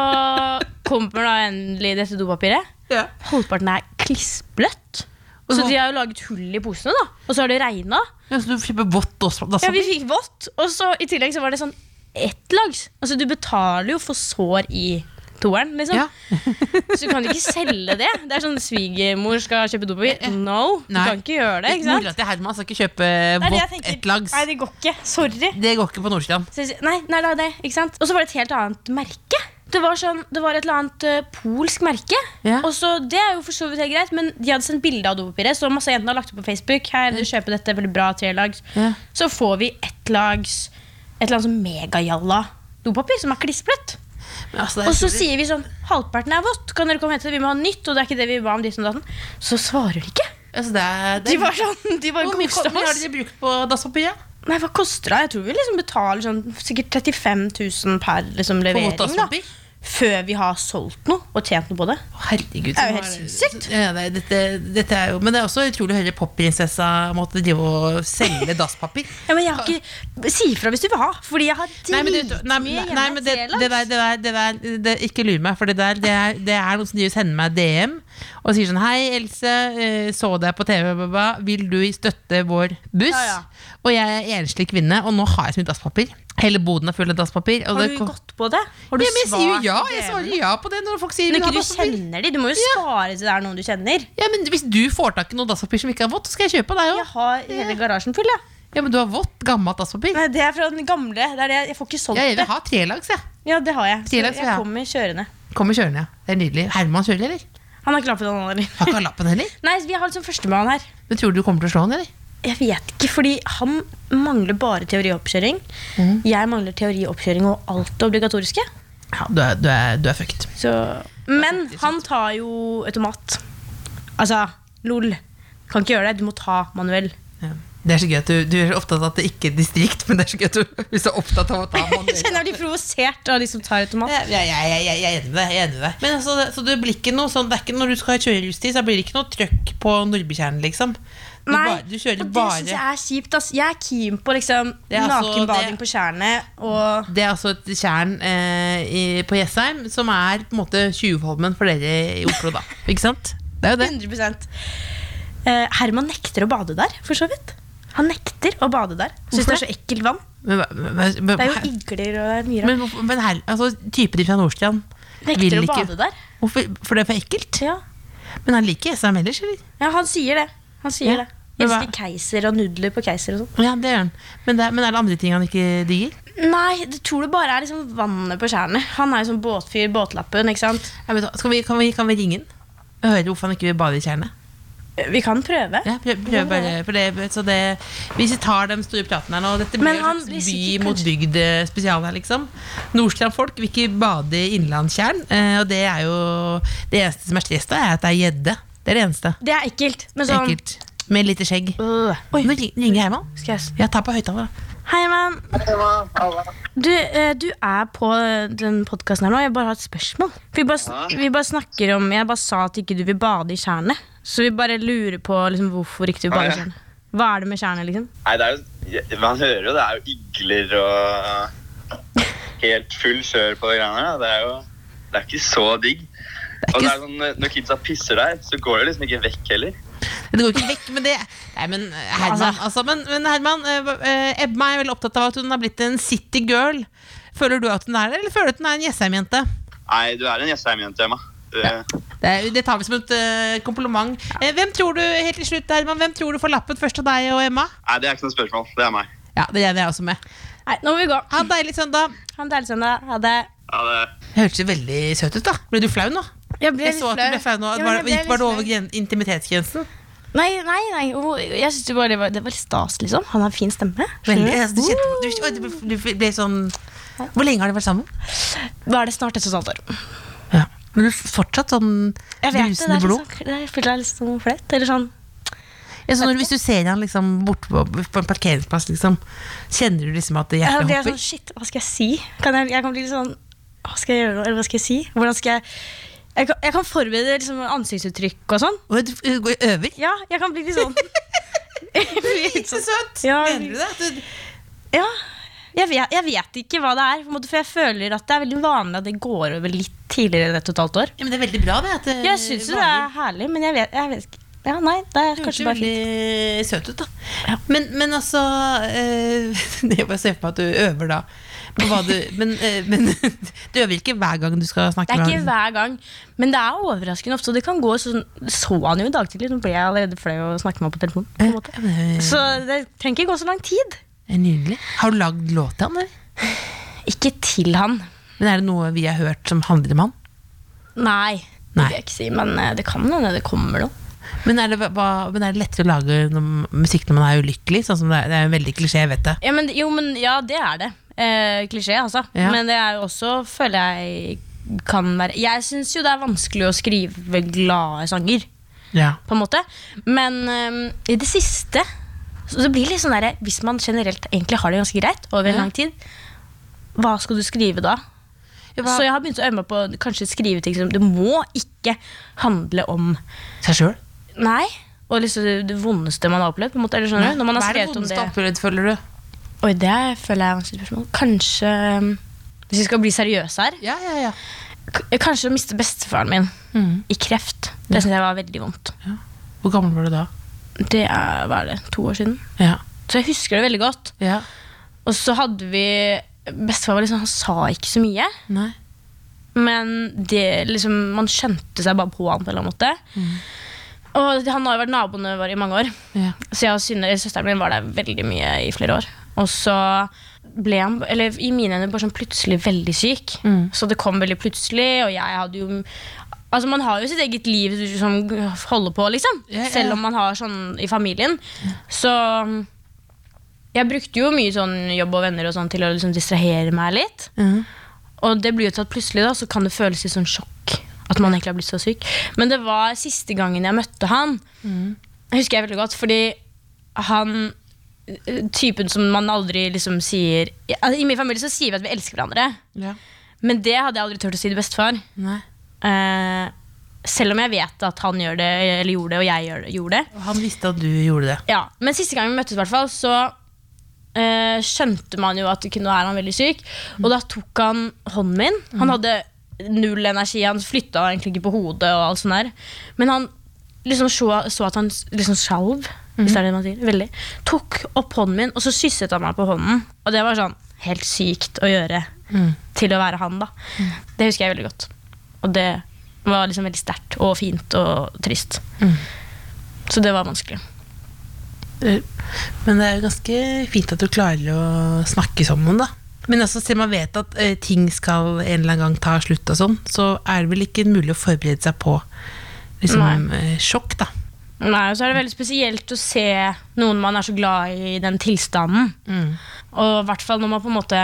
G: kommer da endelig dette dopapiret.
C: Ja.
G: Halvparten er klissbløtt.
C: Og
G: Så
C: så-
G: de har jo laget hull i posene, da. Og så har det regna.
C: Ja, så du kjøper vått også? Da,
G: Ja, vi fikk vått. Og så i tillegg så var det sånn ett lags. Altså, du betaler jo for sår i toeren, liksom.
C: Ja.
G: så du kan jo ikke selge det. Det er sånn svigermor skal kjøpe dopapir. No, du
C: Eh, Nei.
G: kan ikke gjøre det. ikke sant?
C: Mora til Herman skal ikke kjøpe
G: Det er det jeg
C: vått
G: tenker.
C: ett lags.
G: Nei, det går ikke. Sorry.
C: Det går ikke på Nordstrand.
G: Så jeg sier, Nei, nei, det er det, ikke sant? Og så var det et helt annet merke. Det var, sånn, det var et eller annet eh, polsk merke.
C: Ja.
G: Og så, Det er jo for så vidt helt greit, men de hadde sendt bilde av dopapiret. Så masse jentene har lagt det på Facebook. Her, kjøper dette, veldig bra, tre lags.
C: Ja.
G: Så får vi ett lags et eller annet sånn megajalla dopapir som er klissbløtt.
C: Altså,
G: Og så sier vi sånn Halvparten er vått, kan dere komme og hente det? Vi må ha nytt. Og det er ikke det vi ba om ditt og datten. Så svarer de ikke.
C: altså, det er, det
G: De
C: er,
G: var sånn, de var
C: Hvor mye
G: koste
C: hvor mye har
G: oss.
C: dere brukt på dasspapiret?
G: Nei, hva koster det? Jeg tror vi liksom betaler sånn sikkert 35 000 per
C: På
G: liksom,
C: vått
G: levering. da
C: dasspapir?
G: før vi har solgt noe og tjent noe på det.
C: Herregud.
G: Det er
C: så
G: jo helt
C: var-
G: sinnssykt.
C: Ja, nei, dette, dette er jo, men det er også utrolig å høre popprinsessa måtte drive og selge dasspapir.
G: Ja, men jeg har ikke Si ifra hvis du vil ha, fordi jeg har
C: Nei, men,
G: dritmye
C: du, nei, nei, nei, men det,
G: hjemme.
C: det der, det der, det der det, Ikke lur meg, for det der Det er, det er noen som driver og sender meg DM og sier sånn Hei, Else. eh, Så deg på TV. bla, bla, bla. Vil du støtte vår buss?
G: Ja, ja.
C: Og jeg er enslig kvinne, og nå har jeg så mye dasspapir. Hele boden er full av dasspapir. Og
G: Har
C: det
G: du
C: kom-
G: gått på det? Har du
C: ja, men jeg sier jo
G: svart
C: ja.
G: på
C: Jeg
G: DM-ene?
C: svarer ja på det når folk sier
G: Når
C: vil du
G: ikke
C: ha
G: du
C: dasspapir.
G: kjenner de, du må jo spare til det er noen du kjenner.
C: Ja, men Hvis du får tak i noe dasspapir som ikke er vått, så skal jeg kjøpe av deg
G: Jeg
C: òg.
G: har hele garasjen full, ja.
C: Ja, men du har vått, gammelt dasspapir.
G: Nei, det er fra den gamle. Det er det. Jeg får ikke solgt
C: Ja, jeg
G: det.
C: vil ha trelags, jeg.
G: Ja, det har jeg. Så
C: Tillags,
G: jeg
C: ja.
G: kommer kjørende.
C: Kommer kjørende, ja. Det er nydelig. Herman kjører, eller?
G: Han har ikke lappen, han heller.
C: Har ikke han lappen heller?
G: Nei, vi har liksom førstemann her.
C: Men tror du du kommer til å slå han, eller?
G: Jeg vet ikke, fordi han mangler bare teorioppkjøring.
C: Mhm.
G: Jeg mangler teorioppkjøring og alt det obligatoriske.
C: Ja, du er, du er, du er fucked.
G: Så. Men han tar jo automat. Altså, lol. Kan ikke gjøre det. Du må ta manuell.
C: Det er så gøy at du, du er så opptatt av at det ikke er distrikt, men det er så gøy at du, hvis du er opptatt av å ta
G: Jeg
C: *laughs* manuell.
G: kjenner jeg blir provosert av de som tar automat.
C: Jeg, jeg, jeg, jeg, jeg er enig med deg. jeg er enig med deg. Men altså, det- så det blir ikke noe sånn, det er ikke Når du skal kjøre rustig, så blir det ikke noe trøkk på Nordbytjernen, liksom. Du, bare, du kjører
G: og det
C: bare
G: syns jeg er kjipt. Ass. Jeg er keen på liksom,
C: Det er altså-
G: nakenbading
C: det-
G: på tjernet og
C: Det er altså et tjern eh, i, på Jessheim som er på en måte Tjuvholmen for dere i Oslo, da. Ikke sant? Det er jo det.
G: 100 Eh, Herman nekter å bade der, for så vidt. Han nekter å bade der. Syns det er så ekkelt vann.
C: Men, hva- men, men,
G: Det er jo igler og det er mye rart.
C: men, hvorfor- men her, altså, typen din fra Nordstrand
G: Nekter å bade der.
C: Hvorfor, for det er for ekkelt?
G: Ja.
C: Men han liker Jessheim ellers, eller?
G: ja, han sier det. Han sier
C: Ja.
G: det.
C: Men hva-
G: Elsker keiser og nudler på keiser og sånn.
C: Ja, det gjør han. Men, det er, men er det andre ting han ikke digger?
G: Nei, det tror det bare er liksom vannet på tjernet. Han er jo sånn båtfyr, båtlappen, ikke sant.
C: Ja, men da, skal vi, kan, vi, kan vi ringe han? Og høre hvorfor han ikke vil bade i tjernet?
G: Eh, Vi kan prøve.
C: Ja, prøv, prøv bare, for det, så det, hvis vi tar de store pratene her nå Dette blir
G: Men
C: jo
G: han
C: en
G: blir
C: slags by
G: sikkert
C: mot bygd eh, spesial her, liksom. Nordstrand-folk vil ikke bade i innlandstjern. eh, Og det er jo Det eneste som er stress da, er at det er gjedde. Det er det eneste.
G: Det er ekkelt. Men sånn
C: Ekkelt. Med lite skjegg.
G: Øh. Oi,
C: Nå ring- ringer Herman.
G: skal jeg s-
C: Ja, ta på høyttaler, da.
G: Hei, mann. Du, eh, du er på øh, den podkasten her nå. Jeg bare har et spørsmål. For vi bare, sn- vi bare snakker om Jeg bare sa at ikke du vil bade i tjernet. Så vi bare lurer på liksom, hvorfor ikke du vil
E: Ah,
G: bade i
E: ja.
G: tjernet. Hva er det med tjernet, liksom?
E: Nei, det er jo Men Han hører jo det er jo igler og helt full kjør på de greiene der. Det er jo Det er ikke så digg.
C: er
E: Og
C: ikke
E: det er sånn, når kidsa pisser der, så går det liksom ikke vekk heller.
C: Det går ikke vekk, men det Nei, men eh, Herman, altså, men, men Herman eh, hva- eh, Ebma er veldig opptatt av at hun har blitt en city girl. Føler du at hun er det, eller føler du at hun er en Jessheim-jente?
E: Nei, du er en Jessheim-jente, Emma. Det,
C: Det, er, det tar vi som et eh, kompliment. Eh, hvem tror du helt til slutt, Herman, hvem tror du får lappen først av deg og Emma?
E: Nei, det er ikke noe spørsmål. Det er meg.
C: Ja, det regner jeg også med.
G: Nei, nå må vi gå.
C: Ha en deilig søndag.
G: Ha en deilig søndag. Ha det.
E: Ja, det
C: Hørtes veldig søt ut, da. Ble du flau nå?
G: Jeg ble
C: Jeg så at du ble flau nå.
G: Ja, men
C: Var,
G: jeg ble
C: gikk- var du
G: litt
C: over gren- intimitetsgrensen?
G: Nei, nei, nei. Hvor- Jeg synes det, bare, det var- det var litt stas, liksom. Han har fin stemme.
C: Veldig. Altså, du, kjente, du, oi, du, ble, du ble sånn Hvor lenge har dere vært sammen?
G: Da er det snart et og et halvt år.
C: Ja. Men du er fortsatt sånn
G: Jeg vet det, det er
C: brusende
G: litt
C: blod?
G: sånn- det er- føler jeg er litt sånn flaut. Eller sånn
C: Ja, så når, hvis du ser han liksom borte på, på en parkeringsplass, liksom, kjenner du liksom at
G: Jeg
C: hjertet
G: blir
C: hopper?
G: sånn, shit, hva skal jeg si? Kan jeg, jeg kan bli litt sånn, hva skal jeg gjøre nå? Eller hva skal jeg si? Hvordan skal jeg... Jeg kan, jeg kan forberede liksom ansiktsuttrykk og sånn.
C: Og du ø- går
G: *laughs*
C: over?
G: Ja, jeg kan bli litt
C: *laughs*
G: sånn. Jeg blir litt
C: Ikke
G: sånn.
C: søt!
G: Ja.
C: Mener du det? At du,
G: Ja, jeg vet, jeg vet ikke hva det er, på en måte, for jeg føler at det er veldig vanlig at det går over litt tidligere enn et totalt år.
C: Ja, men det er veldig bra det. At, eh,
G: Jeg synes jo det er herlig, men jeg vet, jeg vet ikke. Ja, nei, det er kanskje bare fint.
C: veldig søt ut, da. Men, men altså eh, *laughs* Jeg bare ser for meg at du øver da. På hva du, men, eh, men *laughs* du øver ikke hver gang du skal
G: Det
C: snakke
G: er
C: med
G: ikke
C: han.
G: hver gang, men det er overraskende ofte. og Det kan gå sånn, så han jo i dag tidlig, nå ble jeg allerede flau å snakke med han på telefonen. På en måte.
C: Eh, Ja, men det
G: Så det trenger ikke gå så lang tid.
C: er Nydelig. Har du lagd låt til han, eller?
G: Ikke til han.
C: Men er det noe vi har hørt som handler om han?
G: Nei.
C: Nei.
G: Det vil jeg ikke si, men eh, det kan hende det kommer noe.
C: Men er det, hva, men er det lettere å lage noe musikk når man er ulykkelig? Sånn som det, er, det er en veldig klisjé, jeg vet det.
G: Ja, men, jo, men ja, det er det. Eh, klisjé, altså.
C: Ja.
G: Men det er jo også, føler jeg, kan være Jeg syns jo det er vanskelig å skrive glade sanger,
C: Ja.
G: på en måte. Men eh, i det siste så det blir litt sånn der, Hvis man generelt egentlig har det ganske greit over en lang tid, hva skal du skrive da?
C: Hva-
G: Så jeg har begynt å øve meg på å kanskje skrive ting som Det må ikke handle om
C: Seg sjøl?
G: Nei. Og liksom det- det vondeste man har opplevd. på en måte, eller skjønner du? Når man har
C: Hva er det
G: skrevet om
C: vondeste
G: det.
C: oppgjøret, føler du?
G: Oi, det føler jeg er et vanskelig spørsmål. Kanskje um, Hvis vi skal bli seriøse her
C: Ja, ja, ja.
G: k- Kanskje å miste bestefaren min
C: Mhm.
G: i kreft. Det syns jeg var veldig vondt.
C: Hvor gammel var du da?
G: Det er hva er det, to år siden.
C: Ja.
G: Så jeg husker det veldig godt.
C: ja.
G: Og så hadde vi Bestefar var liksom, han sa ikke så mye.
C: Nei.
G: Men det, liksom, man skjønte seg bare på han på en eller annen måte. Og han har jo vært naboene våre i mange år.
C: Mm. Ja.
G: Så jeg og Synne, eller søsteren min var der veldig mye i flere år. Og så ble han, eller i mine øyne, bare sånn plutselig veldig syk.
C: Mm.
G: Så det kom veldig plutselig, og jeg hadde jo Altså Man har jo sitt eget liv som holder på, liksom.
C: Ja, ja, ja.
G: Selv om man har sånn i familien. Så jeg brukte jo mye sånn jobb og venner og sånn til å liksom distrahere meg litt.
C: Mm.
G: Og det blir jo til at plutselig da, så kan det føles litt sånn sjokk at man egentlig har blitt så syk. Men det var siste gangen jeg møtte han. Jeg husker jeg veldig godt, fordi han eh, Typen som man aldri liksom sier I altså, i min familie så sier vi at vi elsker hverandre.
C: ja.
G: Men det hadde jeg aldri turt å si til bestefar.
C: Nei.
G: Eh, selv om jeg vet at han gjør det, eller gjorde det, og jeg gjør det, gjorde det.
C: Han visste at du gjorde det.
G: Ja, men siste gang vi møttes, i hvert fall, så eh, skjønte man jo at nå er han veldig syk. Og da tok han hånden min. Han hadde null energi, han flytta egentlig ikke på hodet. og alt sånt der. Men han liksom så, så at han s- liksom sjalv, hvis det er det man sier. veldig. Tok opp hånden min, og så kysset han meg på hånden. Og det var sånn helt sykt å gjøre til å være han, da. Det husker jeg veldig godt. Og det var liksom veldig sterkt og fint og trist. Så det var vanskelig.
C: Eh, Men det er jo ganske fint at du klarer å snakke som noen, da. Men altså, selv om man vet at eh, ting skal en eller annen gang ta slutt og sånn, så er det vel ikke mulig å forberede seg på liksom, eh, sjokk, da.
G: Nei, og så er det veldig spesielt å se noen man er så glad i i den tilstanden. Og i hvert fall når man på en måte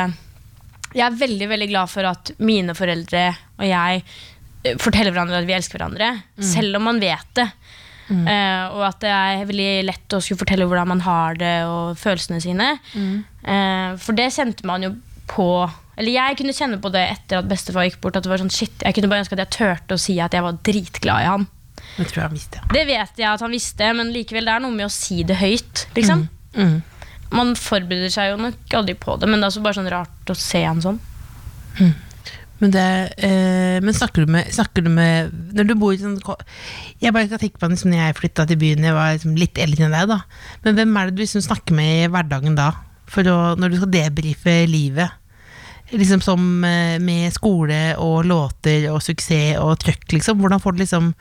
G: Jeg er veldig veldig glad for at mine foreldre og jeg eh, forteller hverandre at vi elsker hverandre, selv om man vet det. Eh, og at det er veldig lett å skulle fortelle hvordan man har det og følelsene sine. Eh, for det kjente man jo på Eller jeg kunne kjenne på det etter at bestefar gikk bort. At det var sånn shit, Jeg kunne bare ønske at jeg turte å si at jeg var dritglad i han.
C: Det tror jeg han visste.
G: Det vet jeg at han visste, men likevel det er noe med å si det høyt. liksom.
C: Mm.
G: Man forbereder seg jo nok aldri på det, men det er også bare sånn rart å se han sånn.
C: Men, det, eh, men snakker, du med, snakker du med Når du bor i sånn ko- Jeg bare kan tenke på liksom, når jeg flytta til byen, jeg var liksom litt eldre enn deg, da. Men hvem er det du liksom snakker med i hverdagen da? For å, når du skal debrife livet? Liksom som eh, med skole og låter og suksess og trøkk, liksom. Hvordan får du liksom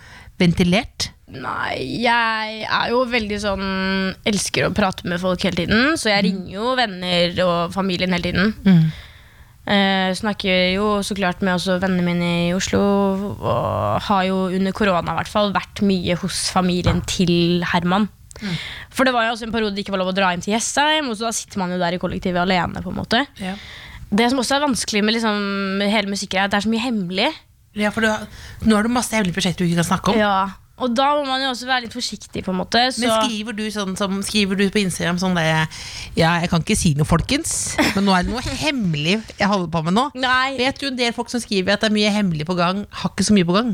C: ventilert?
G: Nei, jeg er jo veldig sånn Elsker å prate med folk hele tiden, så jeg ringer jo venner og familien hele tiden. Eh, snakker jo så klart med også vennene mine i Oslo, og har jo under korona i hvert fall vært mye hos familien til Herman. For det var jo også en periode det ikke var lov å dra inn til Jessheim, og så da sitter man jo der i kollektivet alene. på en måte.
C: Ja.
G: Det som også er vanskelig med liksom, hele musikken, er at det er så mye hemmelig.
C: for du, har- nå har du masse hemmelige prosjekter du ikke kan snakke om.
G: Ja. Og da må man jo også være litt forsiktig, på en måte. Så.
C: Men skriver du, sånn, som, skriver du på Instagram sånn der Ja, jeg kan ikke si noe, folkens, men nå er det noe hemmelig jeg holder på med nå.
G: Nei.
C: Vet du en del folk som skriver at det er mye hemmelig på gang, har ikke så mye på gang.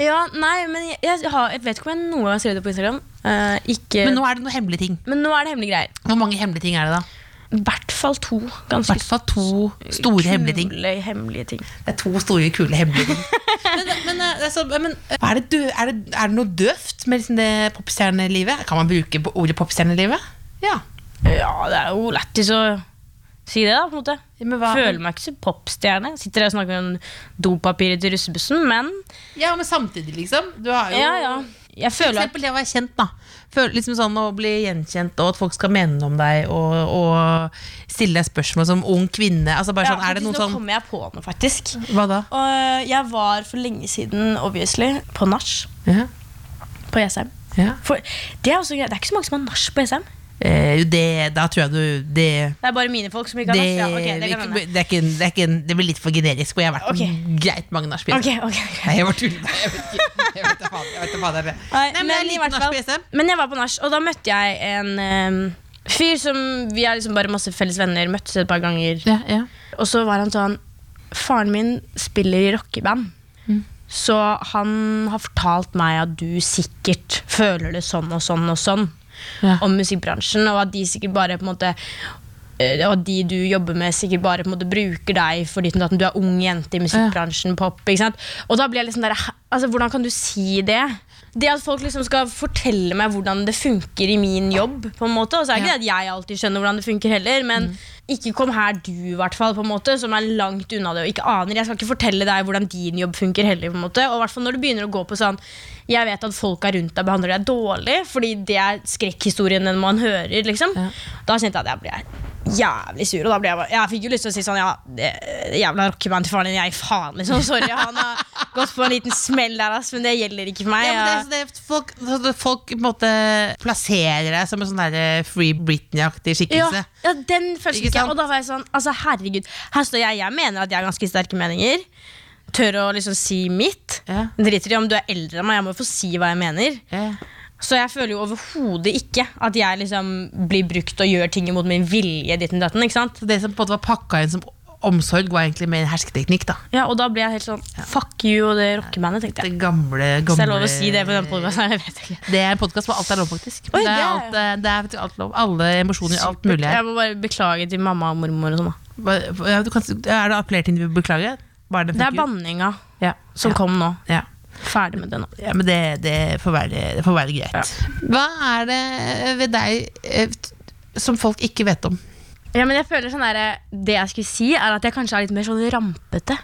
G: Ja, nei, men jeg, jeg, har, jeg vet ikke om jeg noen gang har skrevet det på Instagram. Eh, ikke,
C: Men nå er det noen hemmelige ting.
G: men nå er det hemmelige greier.
C: Hvor mange hemmelige ting er det, da?
G: I hvert fall to
C: I
G: ganske
C: hvert fall to store hemmelige ting.
G: kule hemmelige ting.
C: Det er to store, kule hemmelige ting. *laughs* men, men, eh, altså, men eh, er, det dø, er, det, er det noe døvt med liksom det popstjernelivet? Kan man bruke på ordet popstjernelivet? Ja.
G: Ja, det er jo lættis å si det, da. på en måte
C: men hva-
G: Føler meg ikke som popstjerne. Sitter her og snakker om dopapiret til russebussen, men
C: ja, men samtidig, liksom. Du har jo
G: ja, ja. Jeg
C: For
G: føler at
C: eksempel det å være kjent, da. Føl, liksom sånn Å bli gjenkjent, og at folk skal mene noe om deg, og, og stille deg spørsmål som ung kvinne. Altså bare
G: ja,
C: sånn, er det
G: faktisk,
C: noe
G: Nå
C: sånn
G: kommer jeg på noe, faktisk.
C: Hva da?
G: Og eh, jeg var for lenge siden, obviously, på nach
C: Ja,
G: på Jessheim.
C: ja.
G: For det er, også, greit, det er ikke så mange som har nach på E Jessheim.
C: Eh, det, da tror jeg du Det,
G: Det er bare mine folk som ikke
C: det,
G: har nach. Ja, ok, det kan
C: ikke-
G: hende.
C: det, er ikke, det, er ikke, det blir litt for generisk, for jeg har vært
G: Ok.
C: greit mange nachspiel.
G: Ok, ok, ok.
C: Nei, jeg bare tuller. Nei, Jeg vet ikke. Jeg vet da faen- jeg vet da faen det er det.
G: Nei,
C: Nei, men,
G: men
C: det er
G: i
C: liten
G: hvert
C: nach
G: fall-
C: på SM.
G: Men jeg var på E nach, og da møtte jeg en ehm, fyr som vi er liksom bare masse felles venner, møttes et par ganger.
C: Ja, ja.
G: Og så var han sånn Faren min spiller i rockeband. Så han har fortalt meg at du sikkert føler det sånn og sånn og sånn
C: Ja.
G: om musikkbransjen, og at de sikkert bare på en måte eh, og at de du jobber med, sikkert bare på en måte bruker deg fordi at du er ung jente i musikkbransjen. pop, ikke sant? Og da blir jeg liksom der, "Hæ? altså Hvordan kan du si det? Det at folk liksom skal fortelle meg hvordan det funker i min jobb. på en måte, og så er det ikke det at jeg alltid skjønner hvordan det funker heller, men ikke kom her du, i hvert fall, på en måte, som er langt unna det og ikke aner. Jeg skal ikke fortelle deg hvordan din jobb funker heller. på en måte, Og i hvert fall når du begynner å gå på sånn Jeg vet at folka rundt deg behandler deg dårlig, fordi det er skrekkhistorien den man hører. liksom Da kjente jeg at jeg ble jævlig sur. Og da ble jeg, bare- jeg fikk jo lyst til å si sånn Ja, det jævla rockeband til faren din, jeg, faen, liksom. Sorry, han har gått på en liten smell der, ass, men det gjelder ikke for meg.
C: Ja,
G: jeg-
C: men det, er- det, er- folk, altså, folk på en måte plasserer deg som en sånn der Free Britney-aktig skikkelse.
G: Ja, ja, den følelsen
C: Ikke
G: ikke jeg.
C: sant?
G: Og da var jeg sånn, altså herregud Her står jeg, jeg mener at jeg har ganske sterke meninger Tør å liksom si mitt
C: Ja.
G: Driter i om du er eldre enn meg Jeg må jo få si hva jeg mener
C: Ja.
G: Så jeg føler jo overhodet ikke At jeg liksom blir brukt og gjør ting mot min vilje Ditten datten, ikke sant?
C: Så det som på en måte var pakka inn som omsorg, var egentlig mer en hersketeknikk. da
G: Ja, og da ble jeg helt sånn, fuck you og det rockebandet Tenkte jeg
C: Det gamle, gamle
G: Hvis det er lov å si det på den podcasten, jeg vet ikke
C: Det er en podkast hvor alt er lov, faktisk.
G: Oi,
C: det,
G: det
C: er
G: er-
C: alt, eh, det er faktisk alt lov. Alle emosjoner, alt mulig her.
G: Jeg må bare beklage til mamma og mormor og sånn da
C: Hva- ja, du kan, er det appellert til å beklage? Bare den
G: Det er
C: funker.
G: banninga
C: Ja.
G: som kom nå
C: Ja.
G: Ferdig med det nå
C: ja, men det, det, får være, det får være greit. Hva er det ved deg eh, t- som folk ikke vet om?
G: Ja, men jeg føler sånn der, Det jeg skulle si, er at jeg kanskje er litt mer sånn rampete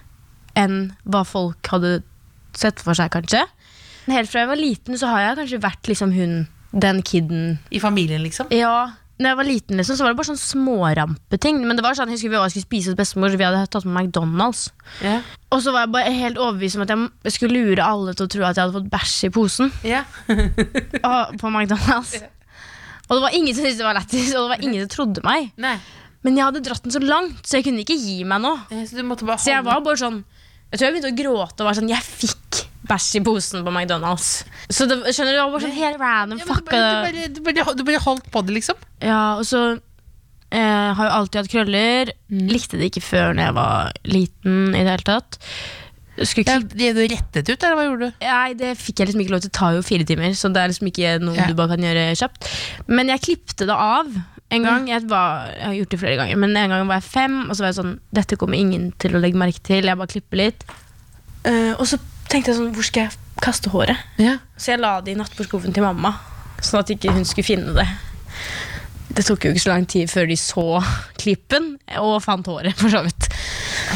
G: enn hva folk hadde sett for seg, kanskje. Helt fra jeg var liten, så har jeg kanskje vært liksom hun, den kiden.
C: I familien, liksom?
G: Ja, når jeg var liten, liksom, så var det bare sånn smårampeting. Men det var sånn, jeg husker vi også skulle spise hos bestemor, så vi hadde tatt med McDonald's.
C: Ja.
G: Og så var jeg bare helt overbevist om at jeg skulle lure alle til å tro at jeg hadde fått bæsj i posen *laughs*
C: Ja. *laughs*
G: og, på McDonald's. Og det var ingen som syntes det var lættis, og det var ingen som trodde meg.
C: Nei.
G: Men jeg hadde dratt den så langt, så jeg kunne ikke gi meg nå.
C: Eh, Så du måtte bare
G: Så jeg var bare sånn Jeg tror jeg begynte å gråte og var sånn Jeg fikk bæsj i posen på McDonald's. Så det, skjønner du, det var bare sånn helt random
C: Ja, men du,
G: fucka
C: bare, du, bare, du, bare, du bare holdt på det, liksom?
G: Ja, og så eh, har jo alltid hatt krøller.
C: Mm.
G: Likte det ikke før når jeg var liten i det hele tatt. Skulle
C: Ja,
G: ikke
C: ble du rettet ut, eller hva gjorde du?
G: Nei, det fikk jeg liksom ikke lov til. Det tar jo fire timer, så det er liksom ikke noe
C: Ja.
G: du bare kan gjøre kjapt. Men jeg klipte det av en gang. Jeg, var, jeg har gjort det flere ganger, men en gang var jeg fem, og så var jeg sånn Dette kommer ingen til å legge merke til. Jeg bare klipper litt. Eh, og så tenkte jeg sånn Hvor skal jeg kaste håret?
C: Ja.
G: Så jeg la det i nattbordskuffen til mamma, sånn at ikke hun skulle finne det. Det tok jo ikke så lang tid før de så klippen og fant håret, for så vidt.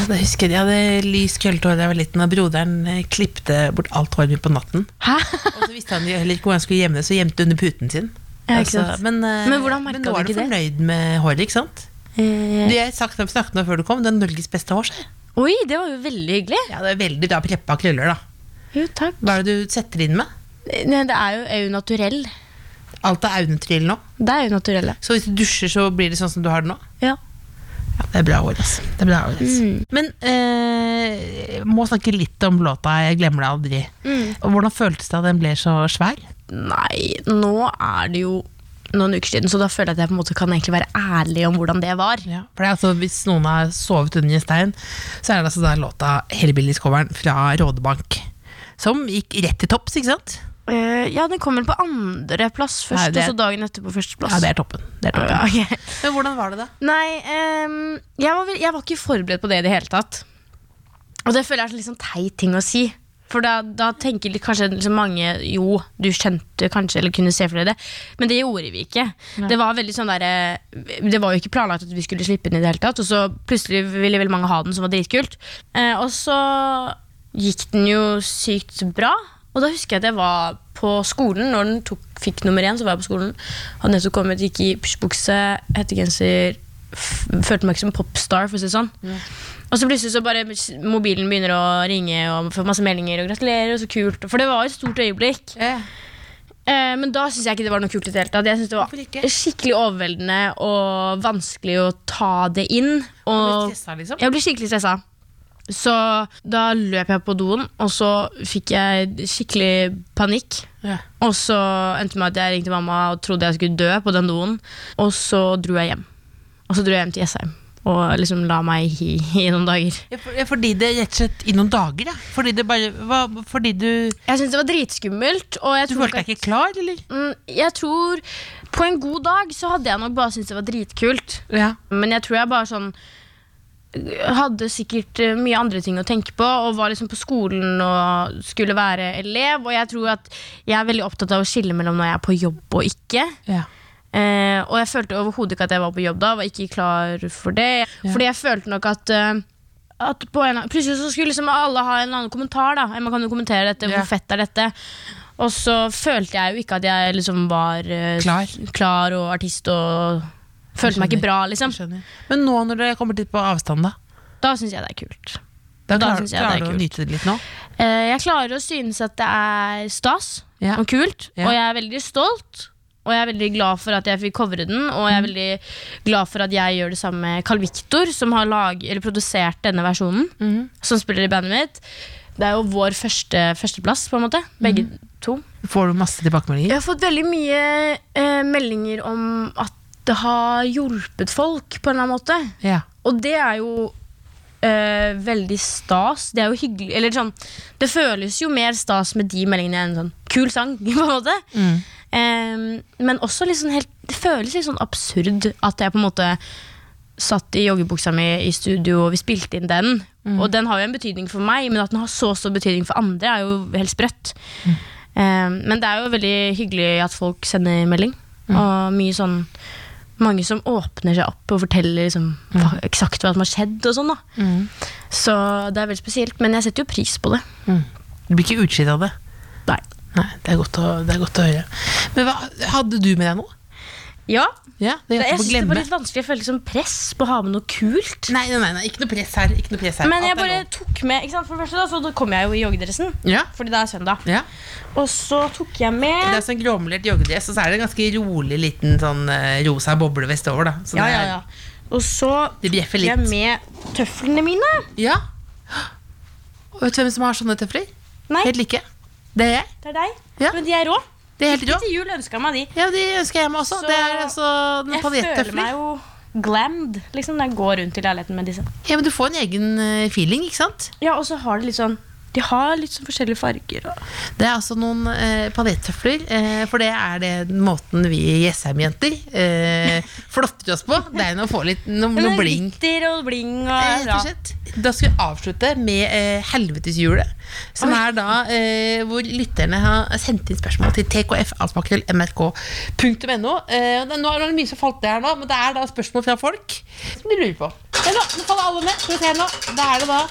C: det husker jeg. Jeg hadde lys krøllete hår da jeg var liten, og broderen eh, klippte bort alt håret mitt på natten.
G: Hæ?
C: Og så visste han jo heller ikke hvor han skulle gjemme det, så gjemte det under puten sin.
G: Ja, ikke sant.
C: men, eh,
G: Men hvordan merket
C: nå
G: du
C: er du
G: ikke det?
C: fornøyd med håret, ikke sant? Du, jeg snakket om snakket om det før du kom, det er Norges beste hår. sier jeg.
G: Eh, Oi, det var jo veldig hyggelig.
C: Ja, det er veldig bra preppa krøller, da.
G: Jo, takk. Eh,
C: Hva er det du setter inn med?
G: Nei, det er jo, er jo naturell.
C: Alt er aunetrill nå.
G: Det er jo naturell,
C: Så hvis du dusjer, så blir det sånn som du har det nå?
G: ja.
C: Ja, det er bra hår, ass. Det er bra hår, ass. Men eh, jeg må snakke litt om låta 'Jeg glemmer deg aldri'. Og hvordan føltes det at den ble så svær?
G: Nei, nå er det jo noen uker siden, så da føler jeg at jeg på en måte kan egentlig være ærlig om hvordan det var.
C: Ja, for det er altså, Hvis noen har sovet under en stein, så er det altså den låta 'Hellbillies-coveren' fra Rådebank. Som gikk rett til topps, ikke sant?
G: Eh, ja, den kom vel på andreplass først,
C: Nei, det-
G: og så dagen etter på førsteplass.
C: Ja, det er toppen. Det er toppen.
G: Ja, *laughs* ok.
C: Men hvordan var det, da?
G: Nei, ehm, jeg, var vel, jeg var ikke forberedt på det i det hele tatt. Og det føler jeg er en litt sånn teit ting å si. For da, da tenker litt- kanskje liksom mange Jo, du skjønte kanskje eller kunne se for deg det, men det gjorde vi ikke. Det var veldig sånn der, eh, Det var jo ikke planlagt at vi skulle slippe den i det hele tatt, og så plutselig ville veldig mange ha den, som var dritkult. Eh, og så gikk den jo sykt bra, og da husker jeg at jeg var på skolen Når den tok, fikk nummer én, så var jeg på skolen. Hadde nettopp kommet, gikk i pysjbukse, hettegenser. f- Følte meg ikke som popstar, for å si det sånn. Og så plutselig så bare s- mobilen begynner å ringe og får masse meldinger og gratulerer. og så kult. For det var et stort øyeblikk. Eh, men da syns jeg ikke det var noe kult i det hele tatt. Jeg synes det
C: Hvorfor
G: var
C: ikke?
G: skikkelig overveldende og vanskelig å ta det inn. Og
C: Stressa, liksom?
G: jeg ble skikkelig stressa. Så da løp jeg på doen, og så fikk jeg skikkelig panikk.
C: Ja.
G: Og så endte det med at jeg ringte mamma og trodde jeg skulle dø på den doen. Og så dro jeg hjem. Og så dro jeg hjem til Jessheim og liksom la meg i, i noen dager.
C: Ja, for- ja, Fordi det rett og slett i noen dager, ja. Fordi det bare hva, Fordi du
G: Jeg syntes det var dritskummelt. Og jeg
C: Du
G: tror
C: følte deg ikke klar, eller?
G: Mm, Jeg tror På en god dag så hadde jeg nok bare syntes det var dritkult.
C: Ja.
G: Men jeg tror jeg bare sånn hadde sikkert eh, mye andre ting å tenke på, og var liksom på skolen og skulle være elev. Og jeg tror at jeg er veldig opptatt av å skille mellom når jeg er på jobb og ikke.
C: ja.
G: Eh, og jeg følte overhodet ikke at jeg var på jobb da, var ikke klar for det. Fordi jeg følte nok at, eh, at på en, plutselig så skulle liksom alle ha en annen kommentar. da Man kan jo kommentere dette,
C: Ja.
G: hvor fett er dette? Og så følte jeg jo ikke at jeg liksom var eh,
C: Klar.
G: klar og artist og Følte meg ikke bra, liksom.
C: Skjønner. Men nå når dere kommer litt på avstand, da?
G: Da syns jeg det er kult.
C: Da,
G: Da
C: klarer,
G: synes jeg det er
C: klarer du å
G: kult.
C: nyte det litt nå?
G: Eh, jeg klarer å synes at det er stas
C: Ja.
G: og kult,
C: Ja.
G: og jeg er veldig stolt. Og jeg er veldig glad for at jeg fikk covre den, og
C: Mm.
G: jeg er veldig glad for at jeg gjør det sammen med Carl Victor, som har lag, eller produsert denne versjonen,
C: Mm.
G: som spiller i bandet mitt. Det er jo vår første førsteplass, på en måte. Begge
C: Mm.
G: to.
C: Får du masse tilbakemeldinger?
G: Jeg har fått veldig mye eh, meldinger om at det har hjulpet folk, på en eller annen måte.
C: Ja.
G: Og det er jo eh, veldig stas. Det er jo hyggelig Eller sånn, det føles jo mer stas med de meldingene enn sånn kul sang, *laughs* på en måte. Eh, men også litt sånn helt Det føles litt sånn absurd at jeg på en måte satt i joggebuksa mi i studio, og vi spilte inn den. Og den har jo en betydning for meg, men at den har så stor betydning for andre, er jo helt sprøtt. Eh, men det er jo veldig hyggelig at folk sender melding. Og mye sånn mange som åpner seg opp og forteller liksom, hva,
C: Mm.
G: eksakt hva som har skjedd. og sånn da. Så det er veldig spesielt, men jeg setter jo pris på det.
C: Du blir ikke utslitt av det?
G: Nei.
C: Nei, det er godt å, det er godt å høre. Men hva, hadde du med deg noe?
G: Ja,
C: Ja, det
G: Jeg
C: hjelper på å
G: synes det var
C: glemme.
G: litt vanskelig. Jeg følte liksom press på å ha med noe kult.
C: Nei, nei, nei, nei, ikke noe press her. Ikke noe press her.
G: Men jeg
C: Alt er
G: bare tok med ikke sant, For det første da, så da kom jeg jo i joggedressen,
C: lov. ja.
G: fordi det er søndag.
C: ja.
G: Og så tok jeg
C: Det
G: med
C: er sånn gråmelert joggedress, og så er det en ganske rolig liten sånn eh, rosa boblevest over, da. Så
G: Ja,
C: det
G: ja,
C: er-
G: ja. Og så
C: Det bjeffer
G: tok jeg
C: litt.
G: med tøflene mine.
C: Ja. Og vet du hvem som har sånne tøfler?
G: Nei,
C: Helt like. Det er jeg.
G: det er deg.
C: Ja.
G: Men de er rå.
C: Det er helt rå.
G: Til jul ønska jeg meg de.
C: Ja, de ønsker jeg meg også.
G: Så-
C: Det er altså noen
G: Jeg føler meg
C: paljettøfler.
G: jo glammed liksom, når jeg går rundt i leiligheten med disse.
C: Ja, men du får en egen eh, feeling, ikke sant?
G: Ja, og så har de litt sånn De har litt sånn forskjellige farger. Og...
C: Det er altså noen eh, paljettøfler, eh, for det er det den måten vi Jessheim-jenter eh, flotter oss på. Det er å få litt noe, noe bling.
G: Glitter og bling og
C: Eh, Rett og slett. Da skal vi avslutte med eh, Helveteshjulet. Som er da eh, hvor lytterne har sendt inn spørsmål til tkfalsmakrellmrk.no. Eh, det- nå er det mye som falt ned her nå, men det er da spørsmål fra folk som de lurer på. Ja, nå, nå faller alle med. Skal vi se her nå. Da er det da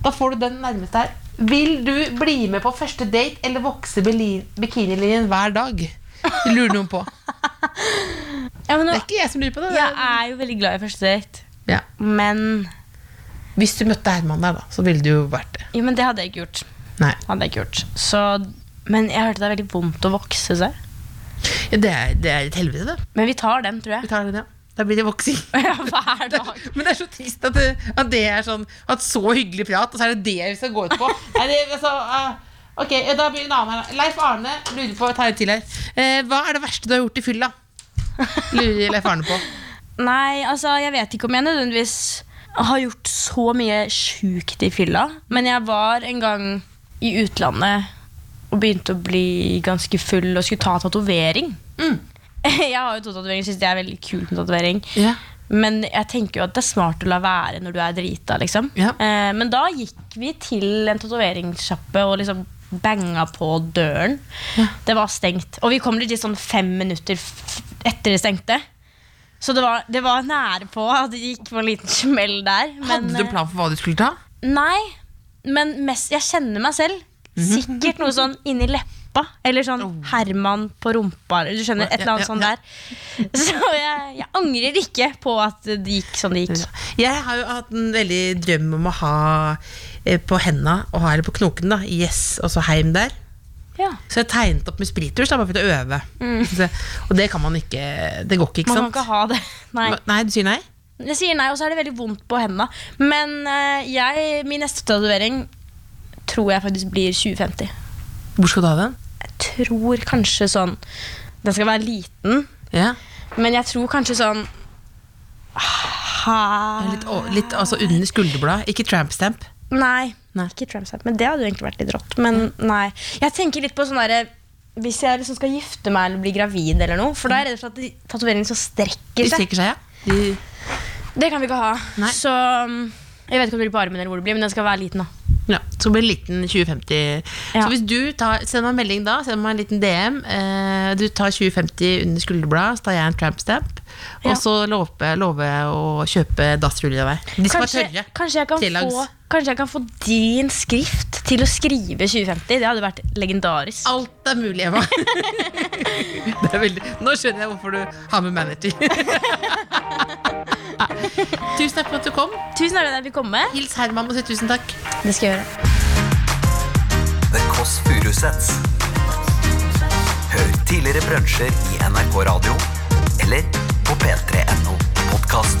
C: Da får du den nærmeste her. Vil du bli med på første date eller vokse beli- bikinilinjen hver dag? Det lurer noen på.
G: Ja, men nå,
C: Det er ikke jeg som lurer på det. det
G: jeg
C: er-
G: er jo veldig glad i første date,
C: Ja.
G: men
C: Hvis du møtte Herman der, da, så ville det jo vært det.
G: Jo, men det hadde jeg ikke gjort.
C: Nei.
G: Hadde jeg ikke gjort. Så, men jeg hørte det er veldig vondt å vokse seg.
C: Ja, Det er, det er et helvete, det.
G: Men vi tar den, tror
C: Vi
G: jeg. *laughs*
C: tar den, ja. Da blir det voksing.
G: Ja, Hver dag.
C: *laughs* Men det er så trist at det, at det er sånn At så hyggelig prat, og så er det det vi skal gå ut på. *laughs* Nei, det, altså, eh, ok, ja, da blir det en annen her. da. Leif Arne lurer på tar jeg til her. Eh, hva er det verste du har gjort i fylla? Lurer Leif Arne på.
G: Nei, altså, jeg vet ikke om jeg nødvendigvis har gjort så mye sjukt i fylla. Men jeg var en gang i utlandet og begynte å bli ganske full og skulle ta tatovering.
C: Mm.
G: *laughs* Jeg har jo to tatoveringer, syns det er veldig kult med tatovering.
C: Ja.
G: Men jeg tenker jo at det er smart å la være når du er drita, liksom.
C: Ja.
G: Eh, men da gikk vi til en tatoveringssjappe og liksom banga på døren. Det var stengt. Og vi kom litt sånn fem minutter f- etter det stengte. Så det var, det var nære på at det gikk på en liten smell der. Men,
C: *laughs* Hadde du plan Mhm. for hva du skulle ta?
G: eh, Nei, men mest, jeg kjenner meg selv. Sikkert noe sånn inni leppa. Eller sånn Herman på rumpa. Eller du skjønner, et eller annet
C: Oh. Ja,
G: sånn
C: ja,
G: der. *laughs* Så jeg, jeg angrer ikke på at det gikk som det gikk.
C: Jeg har jo hatt en veldig drøm om å ha eh, på henda, og ha, eller på knoken, da, yes, og så heim der.
G: Ja.
C: Så jeg tegnet opp med sprittusj da, bare for å øve. Så, og det kan man ikke Det går ikke, ikke
G: Mm. Man kan
C: sant?
G: ikke ha det. *laughs* Nei.
C: Hva- Nei, du sier nei?
G: Jeg sier nei, og så er det veldig vondt på hendene. Men eh, jeg, min neste tatovering tror jeg faktisk blir 2050.
C: Hvor skal du ha den?
G: Jeg tror kanskje sånn Den skal være liten,
C: Ja.
G: men jeg tror kanskje sånn ah, Her
C: Litt, å- litt altså under skulderbladet, ikke trampstamp.
G: Nei,
C: Nei.
G: ikke Tramstamp. Men det hadde jo egentlig vært litt rått. Men nei. Jeg tenker litt på sånn derre Hvis jeg liksom skal gifte meg eller bli gravid eller noe, for da er jeg redd for at de- tatoveringene så
C: De
G: strekker seg.
C: strekker seg, ja. De,
G: Det kan vi ikke ha.
C: Nei.
G: Så um, jeg vet ikke om det blir på armen eller hvor det blir, men den skal være liten, da.
C: ja så blir det liten 2050.
G: Ja.
C: Så hvis du tar, send meg en melding da, send meg en liten DM. Eh, du tar 2050 under skulderbladet, så tar jeg en trampstamp.
G: Ja.
C: Og så lover lover jeg å kjøpe dassruller av deg. De skal
G: Kanskje,
C: være tørre.
G: kanskje, jeg kan
C: Trelangs.
G: få, kanskje jeg kan få din skrift til å skrive 2050. Det hadde vært legendarisk.
C: Alt er mulig, Emma. *laughs* det er veldig... Nå skjønner jeg hvorfor du har med manager. *laughs* tusen takk for at du kom.
G: Tusen takk for at jeg fikk komme.
C: Hils Herman og si tusen takk.
G: Det skal jeg gjøre.
B: The Kåss Furuseths. Hør tidligere brunsjer i NRK Radio eller på p3.no podkast.